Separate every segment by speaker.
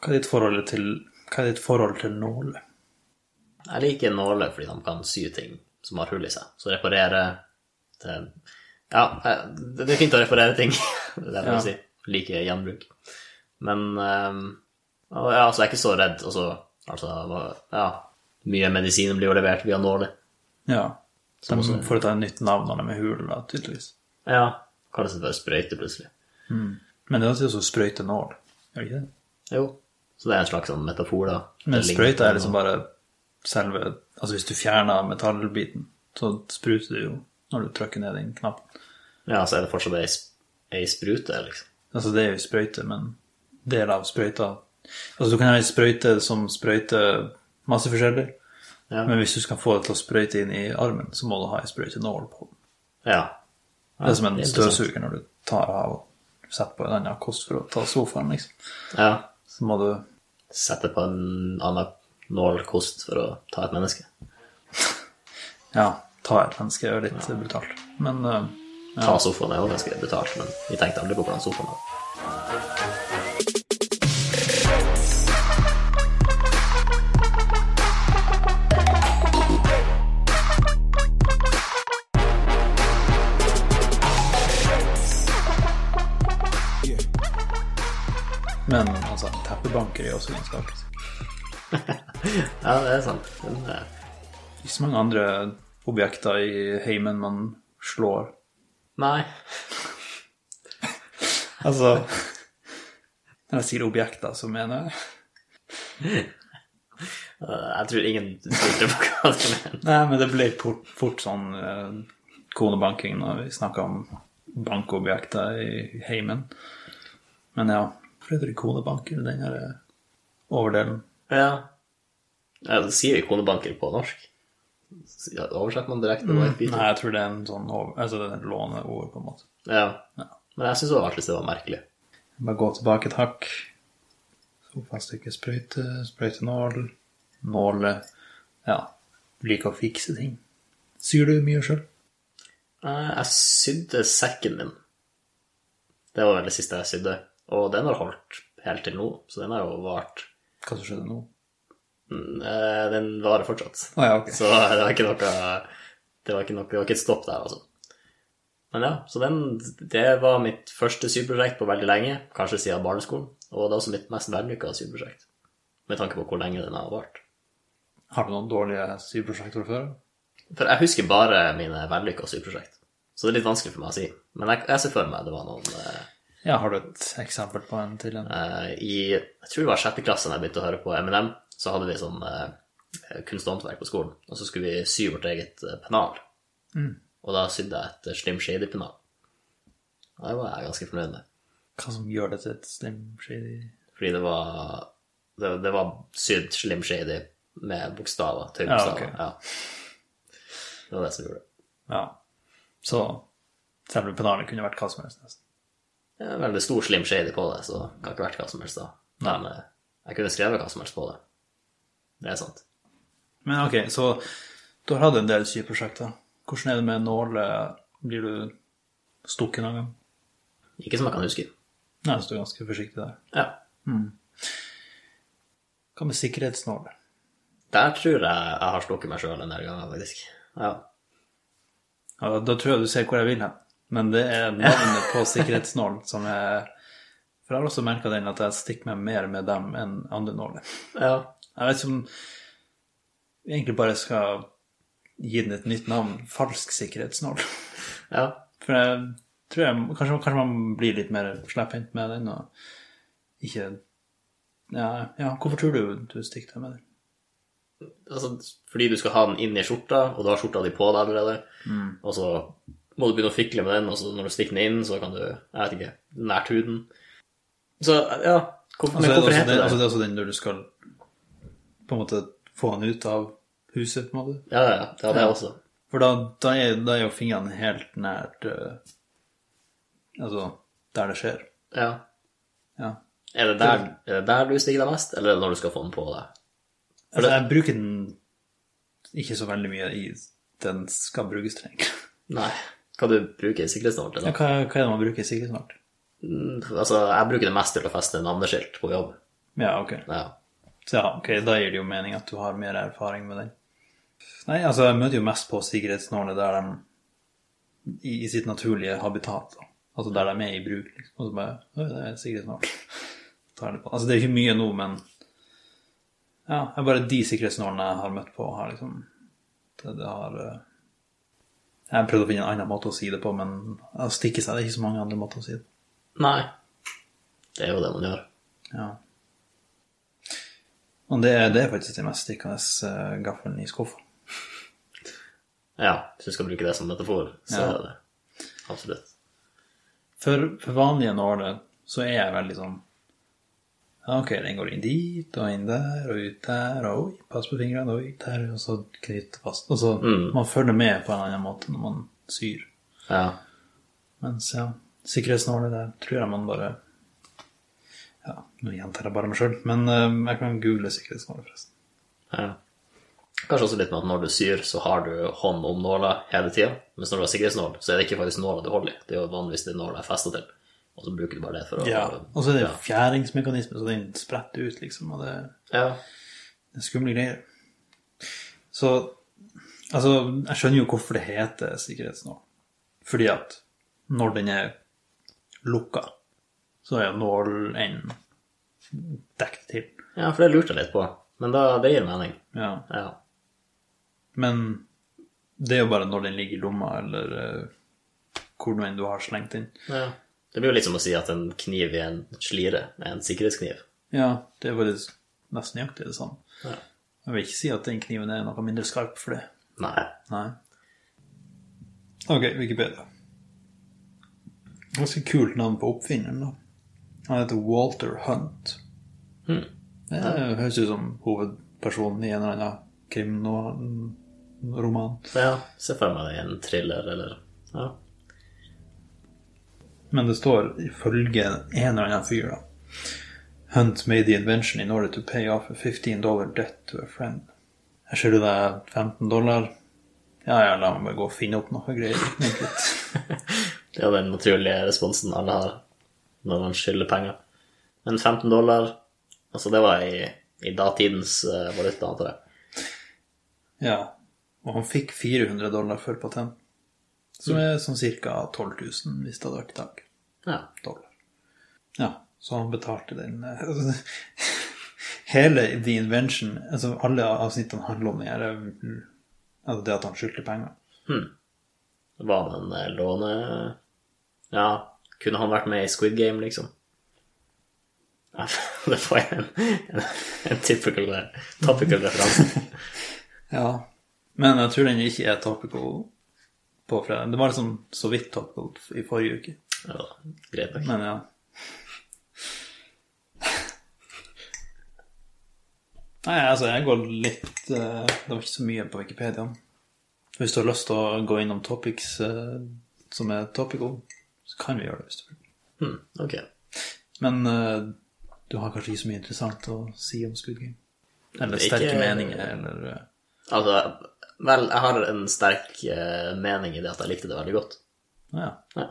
Speaker 1: Hva er ditt forhold til, hva er ditt forhold til nåler?
Speaker 2: Jeg liker nåler fordi de kan sy ting som har hull i seg. Så reparere det, Ja, eh, det det er fint å reparere ting. det er det jeg
Speaker 1: Ja.
Speaker 2: vil si. Liker gjenbruk. Men eh, og ja, altså, jeg er ikke så redd. Altså, altså hva- ja, mye medisin blir jo levert via nåler.
Speaker 1: Ja. De får et nytt navn når de er hule, da, tydeligvis.
Speaker 2: Ja, kalles det bare sprøyte plutselig. Mm.
Speaker 1: Men det er også sprøyte nål, gjør det ikke det?
Speaker 2: Jo. Så det er en slags sånn metafor, da.
Speaker 1: Men
Speaker 2: Det ligner
Speaker 1: sprøyta
Speaker 2: på
Speaker 1: er liksom bare selve Altså hvis du fjerner metallbiten, så spruter det jo når du trykker ned den knappen.
Speaker 2: noe- Ja, så er det fortsatt ei sp- ei sprute, liksom.
Speaker 1: Altså det er jo sprøyte, men del av sprøyta Altså du kan ha ei sprøyte som sprøyter masse forskjellig,
Speaker 2: Ja.
Speaker 1: men hvis du skal få det til å sprøyte inn i armen, så må du ha ei sprøytenål på den.
Speaker 2: Ja.
Speaker 1: Det er som en
Speaker 2: det er interessant.
Speaker 1: støvsuger når du tar av og setter på en annen kost for å ta sofaen, liksom.
Speaker 2: ja.
Speaker 1: Så må du
Speaker 2: Sette på en annen nålkost for å ta et menneske.
Speaker 1: ja, ta et menneske, det er jo litt brutalt. Men eh,
Speaker 2: Ta sofaen er jo ganske betalt, men vi tenkte aldri på hvordan sofaen var.
Speaker 1: Men altså, teppebanker er også ganske artig.
Speaker 2: Ja, det er sant. Men, eh,
Speaker 1: Ikke så mange andre objekter i heimen man slår.
Speaker 2: nei.
Speaker 1: Altså Når jeg sier objekter, så mener jeg
Speaker 2: Eh, Jeg tror ingen lurte på hva det mener.
Speaker 1: Nei, men det ble fort, fort sånn eh, konebanking når vi snakka om bankobjekter i heimen. Men ja, hvorfor heter det konebanker, den her eh, overdelen?
Speaker 2: Ja. ja det sier vi konebanker på norsk. S- ja, Oversetter man direkte på et bit?
Speaker 1: Nei, jeg tror det er en sånn over, altså det er et låneord, på en måte.
Speaker 2: Ja. Men jeg syns det var artig, det var merkelig.
Speaker 1: Bare gå tilbake et hakk. Sofastykke, sprøyte, sprøytenål, nåle Ja, du liker å fikse ting. Syr du mye sjøl?
Speaker 2: Eh, Jeg sydde sekken min. Det var vel det siste jeg sydde. Og den har holdt helt til nå, så den har jo vart.
Speaker 1: Hva som skjedde nå?
Speaker 2: Mm, eh, Den varer fortsatt.
Speaker 1: Å ja, ok.
Speaker 2: Så det var ikke noe Det var ikke, noe, det var ikke et stopp der, altså. Men ja, så den, det var mitt første syprosjekt på veldig lenge, kanskje siden barneskolen. Og det er også mitt mest vellykka syprosjekt, med tanke på hvor lenge den har vart.
Speaker 1: Har du noen dårlige syprosjekter fra før?
Speaker 2: For jeg husker bare mine vellykka syprosjekt, så det er litt vanskelig for meg å si. Men jeg, jeg ser for meg det var noen eh,
Speaker 1: Ja, har du et eksempel på en til? en?
Speaker 2: Eh, I jeg tror det var sjette klasse da jeg begynte å høre på Eminem, så hadde vi sånn eh, kunst og håndverk på skolen. Og så skulle vi sy vårt eget eh, pennal.
Speaker 1: Mm.
Speaker 2: Og da sydde jeg et eh, Slim Shady-pennal. Og det var jeg ganske fornøyd med.
Speaker 1: Hva som gjør det til et slim shady
Speaker 2: Fordi det var, det, det var sydd Slim Shady med
Speaker 1: Ja,
Speaker 2: bokstaver, tøybokstaver.
Speaker 1: ok.
Speaker 2: Ja, Det var det som gjorde det.
Speaker 1: Ja. Så selve pennalen kunne vært hva som helst, nesten.
Speaker 2: Det er en veldig stor Slim Shady på det, så det kan ikke vært hva som helst da. Men eh, jeg kunne skrevet hva som helst på det. Det er sant.
Speaker 1: Men ok, så du har hatt en del syprosjekter. Hvordan er det med nåler? Blir du stukket noen gang?
Speaker 2: Ikke som jeg kan huske.
Speaker 1: Nei, så du er ganske forsiktig der.
Speaker 2: Ja.
Speaker 1: Hva med sikkerhetsnåler?
Speaker 2: Der tror jeg jeg har stukket meg sjøl en del ganger, faktisk. Ja.
Speaker 1: Ja, da, da tror jeg du ser hvor jeg vil hen. Men det er navnet på sikkerhetsnålen som er For jeg har også merka den at jeg stikker meg mer med dem enn andre nåler.
Speaker 2: ja.
Speaker 1: Jeg vet ikke om vi egentlig bare skal gi den et nytt navn. Falsk sikkerhetsnål.
Speaker 2: ja.
Speaker 1: For jeg tror jeg Kanskje, kanskje man blir litt mer slepphendt med den og ikke ja, ja, hvorfor tror du du stikker deg med den?
Speaker 2: Altså, fordi du skal ha den inn i skjorta, og du har skjorta di på deg allerede, og så må du begynne å fikle med den, og så når du stikker den inn, så kan du Jeg vet ikke. Nært huden. Så ja. Hvorfor,
Speaker 1: Altså,
Speaker 2: men
Speaker 1: er det,
Speaker 2: hvorfor
Speaker 1: også
Speaker 2: heter
Speaker 1: den,
Speaker 2: det
Speaker 1: altså, det er også den når du skal på en måte få han ut av huset, på en måte?
Speaker 2: Ja, ja, ja, det er det også.
Speaker 1: For da, da, er, da er jo fingrene helt nært eh, Altså, der det skjer.
Speaker 2: Ja.
Speaker 1: Ja.
Speaker 2: Er det, der, er det der du stikker deg mest, eller er det når du skal få den på deg?
Speaker 1: Altså, jeg bruker den ikke så veldig mye i den skal brukes til, egentlig.
Speaker 2: Nei. Hva du bruker sikkerhetsnål til,
Speaker 1: Ja,
Speaker 2: da?
Speaker 1: hva, hva er det man bruker sikkert snart?
Speaker 2: Mm, Altså, jeg bruker det mest til å feste navneskilt på jobb.
Speaker 1: Ja, ok.
Speaker 2: Ja.
Speaker 1: Så ja, ok, da gir det jo mening at du har mer erfaring med den. Nei, altså, jeg møter jo mest på sikkerhetsnåler der de i, i sitt naturlige habitat, da. Altså der de er i bruk, liksom. Og så bare Oi, det er en sikkerhetsnål. Tar det på. Altså, det er ikke mye nå, men ja, det er bare de sikkerhetsnålene jeg har møtt på, har liksom Det, det har eh, Jeg har prøvd å finne en annen måte å si det på, men å stikke seg, det er ikke så mange andre måter å si det på.
Speaker 2: Nei. Det er jo det man gjør.
Speaker 1: Ja. Og det, det er faktisk den mest stikkende eh, gaffelen i skuffa.
Speaker 2: Ja, hvis du skal bruke det som metafor, så
Speaker 1: Ja.
Speaker 2: er det det. Absolutt.
Speaker 1: For, for vanlige nåler så er jeg veldig sånn ja, Ok, den går inn dit og inn der og ut der og oi, pass på fingrene og ut der, og så knytte fast. Og så
Speaker 2: Mm.
Speaker 1: Man følger med på en annen måte når man syr.
Speaker 2: Ja.
Speaker 1: Mens ja, sikkerhetsnåler, der tror jeg man bare Ja, nå gjentar jeg bare meg sjøl, men eh, jeg kan google sikkerhetsnåler, forresten.
Speaker 2: ja. Kanskje også litt med at når du syr, så har du hånd om nåla hele tida. Mens når du har sikkerhetsnål, så er det ikke faktisk nåla du holder i. Det er jo vanligvis det nåla er festa til. Og så bruker du bare det for å
Speaker 1: Og så er det
Speaker 2: ja.
Speaker 1: fjæringsmekanisme, så den spretter ut, liksom, og det
Speaker 2: ja.
Speaker 1: Det er skumle greier. Så Altså, jeg skjønner jo hvorfor det heter sikkerhetsnål. Fordi at når den er lukka, så er jo nålen dekket til.
Speaker 2: ja, for det lurte jeg litt på. Men da, det gir mening.
Speaker 1: Ja.
Speaker 2: Ja.
Speaker 1: Men det er jo bare når den ligger i lomma, eller eh, hvor nå enn du har slengt den.
Speaker 2: ja. Det blir jo litt som å si at en kniv i en slire er en sikkerhetskniv.
Speaker 1: Ja, det er faktisk nesten nøyaktig det samme.
Speaker 2: Ja.
Speaker 1: Jeg vil ikke si at den kniven er noe mindre skarp for det.
Speaker 2: Nei.
Speaker 1: Nei. Ok, Wikipedia. Ganske kult navn på oppfinneren, da. Han heter Walter Hunt.
Speaker 2: Hmm.
Speaker 1: Det høres ut som hovedpersonen i en eller annen krimroman.
Speaker 2: Ja, se for meg det i en thriller eller ja.
Speaker 1: Men det står ifølge en eller annen fyr, da. Hunt made the invention in order to pay off a 15 dollar debt to a friend. Jeg skylder deg 15 dollar. Ja, ja, la meg bare gå og finne opp noe greier. Vent litt.
Speaker 2: Det er den naturlige responsen alle har når man skylder penger. Men 15 dollar Altså, det var i, i datidens eh, valuta, antar jeg.
Speaker 1: Ja, og han fikk 400 dollar for patent. Som er sånn ca. 12 000 hvis det hadde vært i dag.
Speaker 2: Ja.
Speaker 1: Dollar. Ja, så han betalte den eh, altså, Hele The Invention, altså alle avsnittene handler om det her, eh, altså det at han skyldte penger.
Speaker 2: Var det en eh, låne... Ja, kunne han vært med i Squid Game, liksom? Ja, det får jeg en, en, en typical, topical referanse.
Speaker 1: Ja. Men jeg tror den ikke er topical på fredag. Det var liksom så vidt topical i forrige uke.
Speaker 2: Ja, greit nok.
Speaker 1: Men ja. Nei, altså, jeg går litt eh, Det var ikke så mye på Wikipedia. Hvis du har lyst til å gå innom topics eh, som er topical, så kan vi gjøre det hvis du vil.
Speaker 2: Hmm, ok.
Speaker 1: Men eh, du har kanskje ikke så mye interessant å si om Squid Game? Eller
Speaker 2: Det er ikke-
Speaker 1: sterke meninger, eller eh,
Speaker 2: Altså, vel, jeg har en sterk eh, mening i det at jeg likte det veldig godt.
Speaker 1: Ja.
Speaker 2: Nei.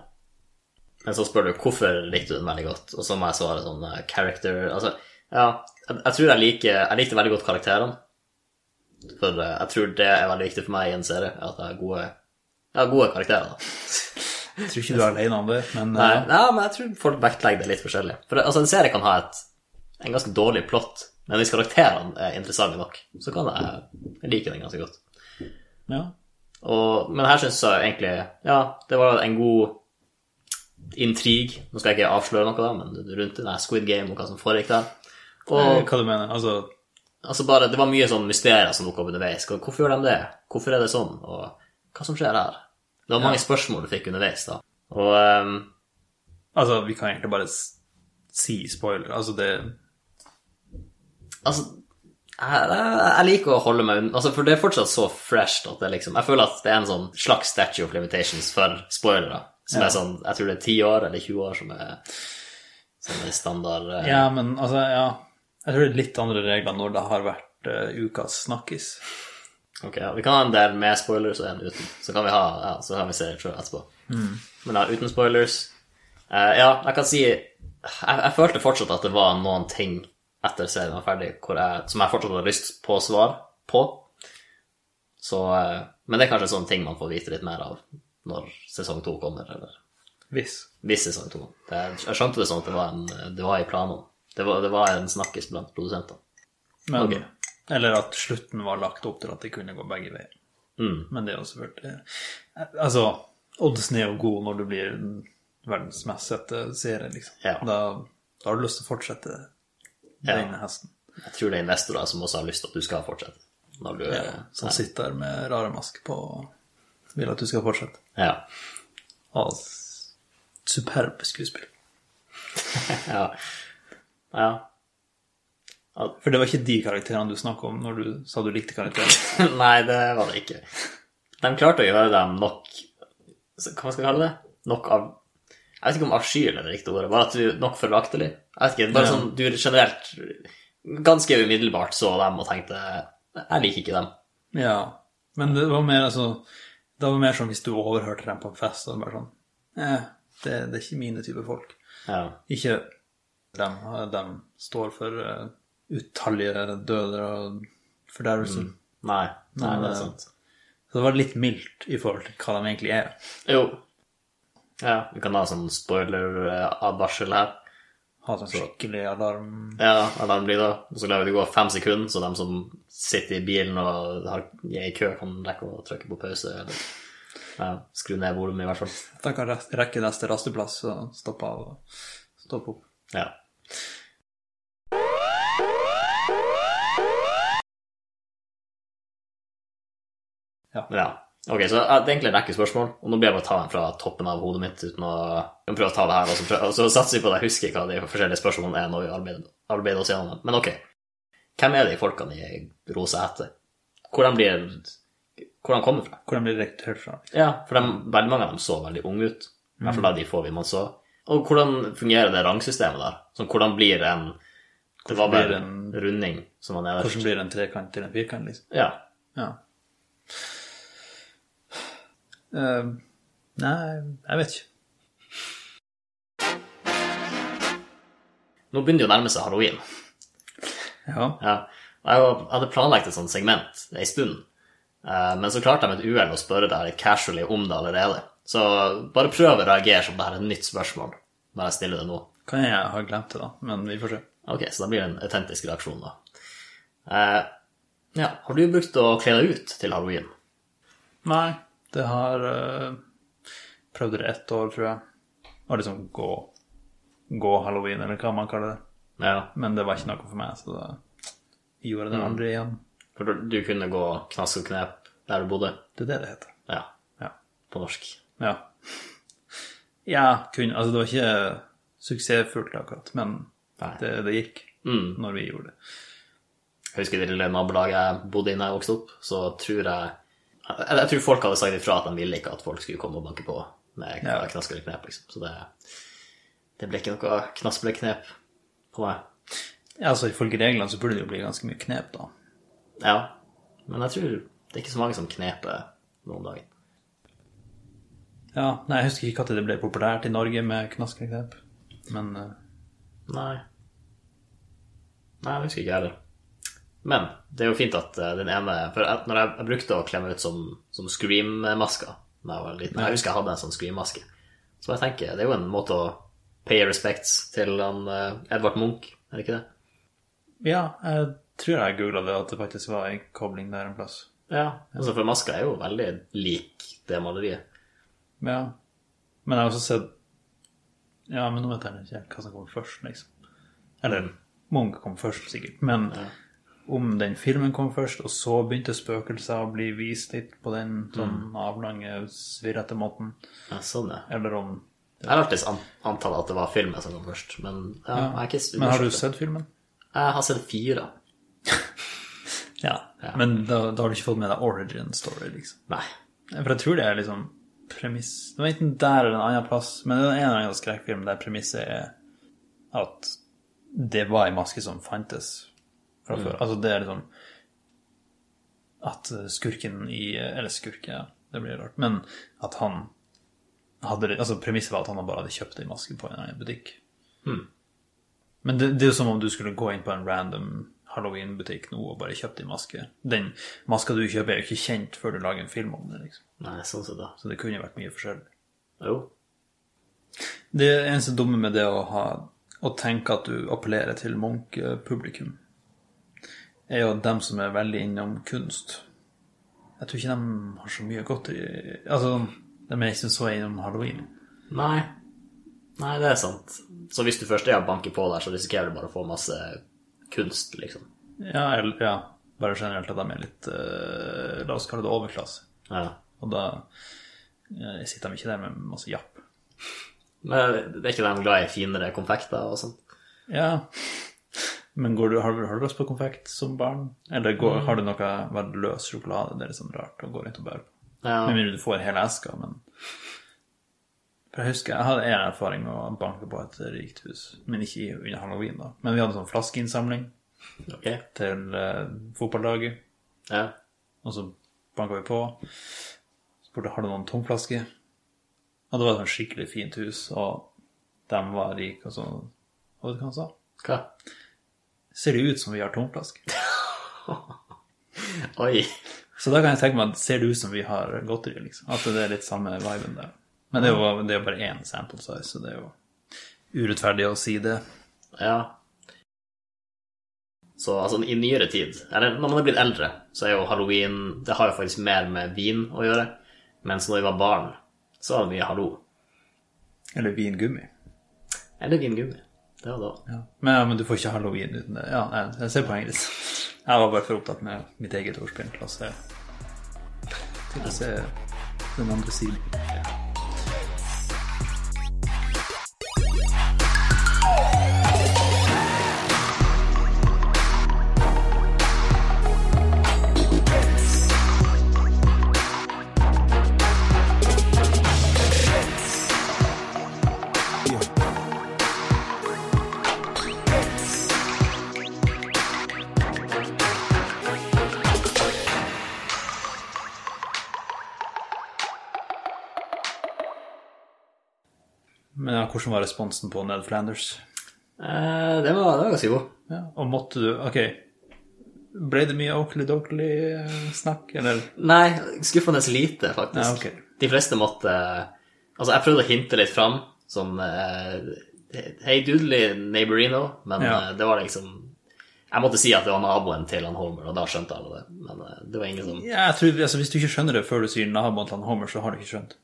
Speaker 2: Men så spør du hvorfor likte du den veldig godt, og så må jeg svare sånn eh, character Altså, ja, jeg, jeg tror jeg liker Jeg likte veldig godt karakterene. For eh, jeg tror det er veldig viktig for meg i en serie, at jeg har gode, jeg har gode karakterer. da.
Speaker 1: Jeg tror ikke du er alene om det, men
Speaker 2: Nei,
Speaker 1: eh,
Speaker 2: nei, men jeg tror folk vektlegger det litt forskjellig. For altså, en serie kan ha et, en ganske dårlig plott, men hvis karakterene er interessante nok, så kan jeg, jeg like den ganske godt.
Speaker 1: ja.
Speaker 2: Og, men her syns jeg egentlig Ja, det var en god intrig. Nå skal jeg ikke avsløre noe, da, men rundt den her Squid Game og hva som foregikk der.
Speaker 1: Eh,
Speaker 2: Og
Speaker 1: Hva du mener? Altså
Speaker 2: altså bare, Det var mye sånn mysterier som dukka opp underveis. Hva- Hvorfor gjør de det? Hvorfor er det sånn? Og hva som skjer her? Det var mange spørsmål du fikk underveis, da. Og ehm,
Speaker 1: Altså, vi kan egentlig bare s- si spoiler. Altså, det
Speaker 2: Altså, jeg, jeg, jeg liker å holde meg unna altså, For det er fortsatt så fresh at det liksom Jeg føler at det er en sånn slags statue of limitations for spoilere. Som
Speaker 1: Ja.
Speaker 2: er sånn Jeg tror det er 10 år eller 20 år som er, som er standard eh,
Speaker 1: Ja, men altså, ja Jeg tror det er litt andre regler når det har vært eh, ukas snakkis.
Speaker 2: Ok, ja, Vi kan ha en del med spoilers og en uten. Så kan vi ha ja, så kan vi se det etterpå. Men ja, uten spoilers eh, Ja, jeg kan si jeg, jeg følte fortsatt at det var noen ting etter serien var ferdig, hvor jeg, som jeg fortsatt har lyst på svar på. Så, eh, men det er kanskje en sånn ting man får vite litt mer av når sesong to kommer, eller
Speaker 1: Hvis.
Speaker 2: hvis sesong to. Det, jeg skjønte det sånn at det var, en, det var i planene. Det var, det var en snakkis blant produsentene.
Speaker 1: Men,
Speaker 2: Ok.
Speaker 1: Eller at slutten var lagt opp til at de kunne gå begge veier.
Speaker 2: Mm.
Speaker 1: Men det er jo selvfølgelig eh, Altså, oddsen er jo god når du blir den verdens mest sette serie, liksom.
Speaker 2: Ja.
Speaker 1: Da, da har du lyst til å fortsette den hesten.
Speaker 2: Jeg tror det er investorer som også har lyst til at du skal fortsette. Når du,
Speaker 1: Som sitter der med rare masker på og vil at du skal fortsette.
Speaker 2: ja.
Speaker 1: Og s- superb skuespill.
Speaker 2: Ja. ja.
Speaker 1: For det var ikke de karakterene du snakka om når du sa du likte karakterene.
Speaker 2: Nei, det var det ikke. De klarte å gjøre dem nok så Hva skal jeg kalle det? Nok av Jeg vet ikke om avskyelig er det riktige ordet, bare at du nok forlaktelig. Jeg vet ikke, bare
Speaker 1: Ja.
Speaker 2: sånn du generelt Ganske umiddelbart så dem og tenkte Jeg liker ikke dem.
Speaker 1: Ja. Men det var mer altså Det var mer som hvis du overhørte dem på en fest og bare sånn eh, det, det er ikke mine type folk.
Speaker 2: Ja.
Speaker 1: Ikke dem. De står for eh, utallige døder og fordervelser.
Speaker 2: Mm. Nei. Nei,
Speaker 1: Men,
Speaker 2: det
Speaker 1: eh,
Speaker 2: er sant.
Speaker 1: Så det var litt mildt i forhold til hva de egentlig er.
Speaker 2: Jo. Ja, vi kan ha sånn spoiler-advarsel her.
Speaker 1: Ha sånn skikkelig alarm
Speaker 2: Ja, alarm blir da. Og så lar vi det gå fem sekunder, så de som sitter i bilen og har, er i kø, kan rekke å trykke på pause eller ja, skru ned volumet, i hvert fall.
Speaker 1: De kan res- rekke neste rasteplass og stoppe av og stoppe opp.
Speaker 2: Ja.
Speaker 1: Ja.
Speaker 2: Ok, så ja, det er egentlig en rekke spørsmål, og nå blir jeg bare å ta dem fra toppen av hodet mitt uten å jeg må prøve å ta det her, og så, prø- og så satser vi på at jeg husker hva de forskjellige spørsmålene er når vi arbeider, arbeider oss gjennom dem. Men ok, hvem er de folkene i rosa hette? Hvor de blir Hvor de kommer fra?
Speaker 1: Hvor de blir rekruttert fra.
Speaker 2: Ja, for de, veldig mange av dem så veldig unge ut. I hvert fall da de få vi man så. Og hvordan fungerer det rangsystemet der? Sånn, hvordan blir en Det var
Speaker 1: blir
Speaker 2: bare en
Speaker 1: en-
Speaker 2: runding som var nederst.
Speaker 1: Hvordan blir det en trekant til en firkant, liksom?
Speaker 2: Ja.
Speaker 1: Ja. Eh, nei, jeg vet ikke.
Speaker 2: Nå begynner det å nærme seg halloween.
Speaker 1: Ja.
Speaker 2: Ja. Og Jeg var- hadde planlegt et sånt segment en stund, Eh, men så klarte jeg med et uhell å spørre deg litt casually om det allerede. Så bare prøv å reagere som om det her er et nytt spørsmål når jeg stiller det nå.
Speaker 1: Kan jeg ha glemt det, da? Men vi får se.
Speaker 2: Ok, så da blir det en autentisk reaksjon, da. Eh, ja, har du brukt å kle deg ut til halloween?
Speaker 1: Nei, det har eh, prøvd det ett år, tror jeg. Å liksom gå, gå halloween, eller hva man kaller det.
Speaker 2: Ja.
Speaker 1: Men det var ikke noe for meg, så da gjorde jeg det aldri igjen.
Speaker 2: For du- du kunne gå knask og knep der du bodde?
Speaker 1: Det er det det heter.
Speaker 2: Ja,
Speaker 1: Ja.
Speaker 2: på norsk.
Speaker 1: Ja, ja kun, altså det var ikke suksessfullt akkurat, men
Speaker 2: Nei.
Speaker 1: det, det gikk
Speaker 2: Mm.
Speaker 1: når vi gjorde det.
Speaker 2: Jeg husker det lille nabolaget jeg bodde i da jeg vokste opp, så tror jeg jeg, jeg tror folk hadde sagt ifra at de ville ikke at folk skulle komme og banke på med
Speaker 1: Ja.
Speaker 2: knask eller knep, liksom. Så det, det ble ikke noe knask eller knep på meg.
Speaker 1: Ja, altså Ifølge reglene så burde det jo bli ganske mye knep, da.
Speaker 2: Ja. Men jeg tror det er ikke så mange som kneper nå om dagen.
Speaker 1: Ja, nei, Jeg husker ikke når det ble populært i Norge med knaskeknep, men eh,
Speaker 2: Nei. Nei, jeg husker ikke heller. Men det er jo fint at eh, den ene For at når jeg, jeg brukte å kle meg ut som, som Scream-maska da jeg var liten Jeg husker jeg hadde en sånn Scream-maske. Så jeg tenker, det er jo en måte å pay respects til han eh, Edvard Munch, er det ikke det?
Speaker 1: ja, jeg tror jeg googla det, at det faktisk var en kobling der en plass.
Speaker 2: Ja. Altså, for maska er jo veldig lik det maleriet.
Speaker 1: Ja. Men jeg har også sett Ja, men nå vet jeg ikke hva som kommer først, liksom. Eller Munch kom først, sikkert. Men om den filmen kom først, og så begynte spøkelser å bli vist litt på den sånn
Speaker 2: Mm.
Speaker 1: avlange, svirrete måten,
Speaker 2: Ja, sånn, ja.
Speaker 1: eller om
Speaker 2: Jeg har alltid an- antatt at det var filmen som kom først, men ja, jeg er ikke
Speaker 1: Men har du sett filmen?
Speaker 2: Jeg har sett fire.
Speaker 1: Ja. Men da, da har du ikke fått med deg origin story, liksom.
Speaker 2: Nei.
Speaker 1: For jeg tror det er liksom premiss Det var enten der eller en annen plass, men det er en eller annen skrekkfilm der premisset er at det var ei maske som fantes fra før. Altså, det er liksom At skurken i Eller skurk, ja. Det blir rart. Men at han hadde Altså, premisset var at han bare hadde kjøpt ei maske på en eller annen butikk. Men det, det er jo som om du skulle gå inn på en random Halloween-butikk nå og bare kjøpt din maske. Den maska du kjøper, er jo ikke kjent før du lager en film om det, liksom.
Speaker 2: Nei, sånn sett, da.
Speaker 1: Så det kunne vært mye forskjellig.
Speaker 2: Jo.
Speaker 1: Det eneste dumme med det å, ha, å tenke at du appellerer til Munch-publikum, er jo dem som er veldig innom kunst. Jeg tror ikke de har så mye godt i Altså, de er ikke så innom halloween.
Speaker 2: Nei. Nei, det er sant. Så hvis du først er og banker på der, så risikerer du bare å få masse kunst, liksom.
Speaker 1: Ja, eller, ja bare generelt at de er litt eh, La oss kalle det overklasse.
Speaker 2: Ja.
Speaker 1: Og da eh, sitter de ikke der med masse japp.
Speaker 2: Men det er ikke de glad i finere konfekter og sånn? sånt?
Speaker 1: Ja. Men går du, har, du- har du lyst på konfekt som barn? Eller går, har du noe veldig løs sjokolade? Det er litt sånn rart å gå rundt og bære på.
Speaker 2: Ja.
Speaker 1: Med mindre du får hele eska, men For jeg husker jeg hadde en erfaring med å banke på et rikt hus. Men ikke i- under halloween, da. Men vi hadde sånn flaskeinnsamling
Speaker 2: Ok.
Speaker 1: til eh, fotballaget.
Speaker 2: Ja.
Speaker 1: Og så banka vi på. Spurte har du noen tomflasker. Og det var et sånn skikkelig fint hus, og de var rike, og så Og vet du hva han sa?
Speaker 2: Hva?
Speaker 1: Ser det ut som vi har tomflasker?
Speaker 2: Oi.
Speaker 1: Så da kan jeg tenke meg at ser det ut som vi har godteri, liksom. At det er litt samme viben der. Men det er jo, det er jo bare én sample size, så det er jo urettferdig å si det.
Speaker 2: Ja. Så altså, i nyere tid, eller når man er blitt eldre, så er jo halloween Det har jo faktisk mer med vin å gjøre. Mens når vi var barn, så var det mye hallo.
Speaker 1: Eller vingummi.
Speaker 2: Eller vingummi. Det var da.
Speaker 1: Ja. Men, ja, men du får ikke halloween uten det. Ja, nei, jeg ser poenget ditt. Jeg var bare for opptatt med mitt eget ordspill til å se Til å se den andre siden. Men ja, hvordan var responsen på Ned Flanders?
Speaker 2: Eh, det var, det var ganske god.
Speaker 1: Ja, og måtte du Ok, ble det mye Oakley-Dokley-snakk, eller?
Speaker 2: Nei, skuffende lite, faktisk.
Speaker 1: Ja, ok.
Speaker 2: De fleste måtte Altså, jeg prøvde å hinte litt fram, sånn eh, Hei, doodly neighborino, men
Speaker 1: Ja.
Speaker 2: eh, det var liksom Jeg måtte si at det var naboen til han Holmer, og da skjønte alle det. Men eh, det var ingen som
Speaker 1: Ja, jeg tror, altså, Hvis du ikke skjønner det før du sier naboen til han Homer, så har du ikke skjønt.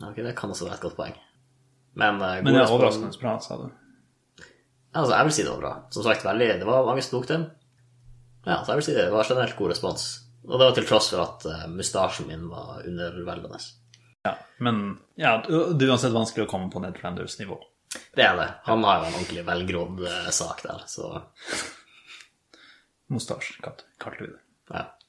Speaker 2: Ja, Ok, det kan også være et godt poeng. Men, eh,
Speaker 1: Men det
Speaker 2: god
Speaker 1: er
Speaker 2: respons-
Speaker 1: overraskende bra, sa du.
Speaker 2: Altså, jeg vil si det var bra. Som sagt, veldig, det var mange som tok den. Ja, så jeg vil si det, det var generelt god respons. Og det var til tross for at eh, mustasjen min var underveldende.
Speaker 1: Ja, Men ja, det er uansett vanskelig å komme på Ned Flanders nivå.
Speaker 2: Det er det. Han har jo en ordentlig velgrodd eh, sak der, så
Speaker 1: Mostasje, kalte kalte vi det.
Speaker 2: ja.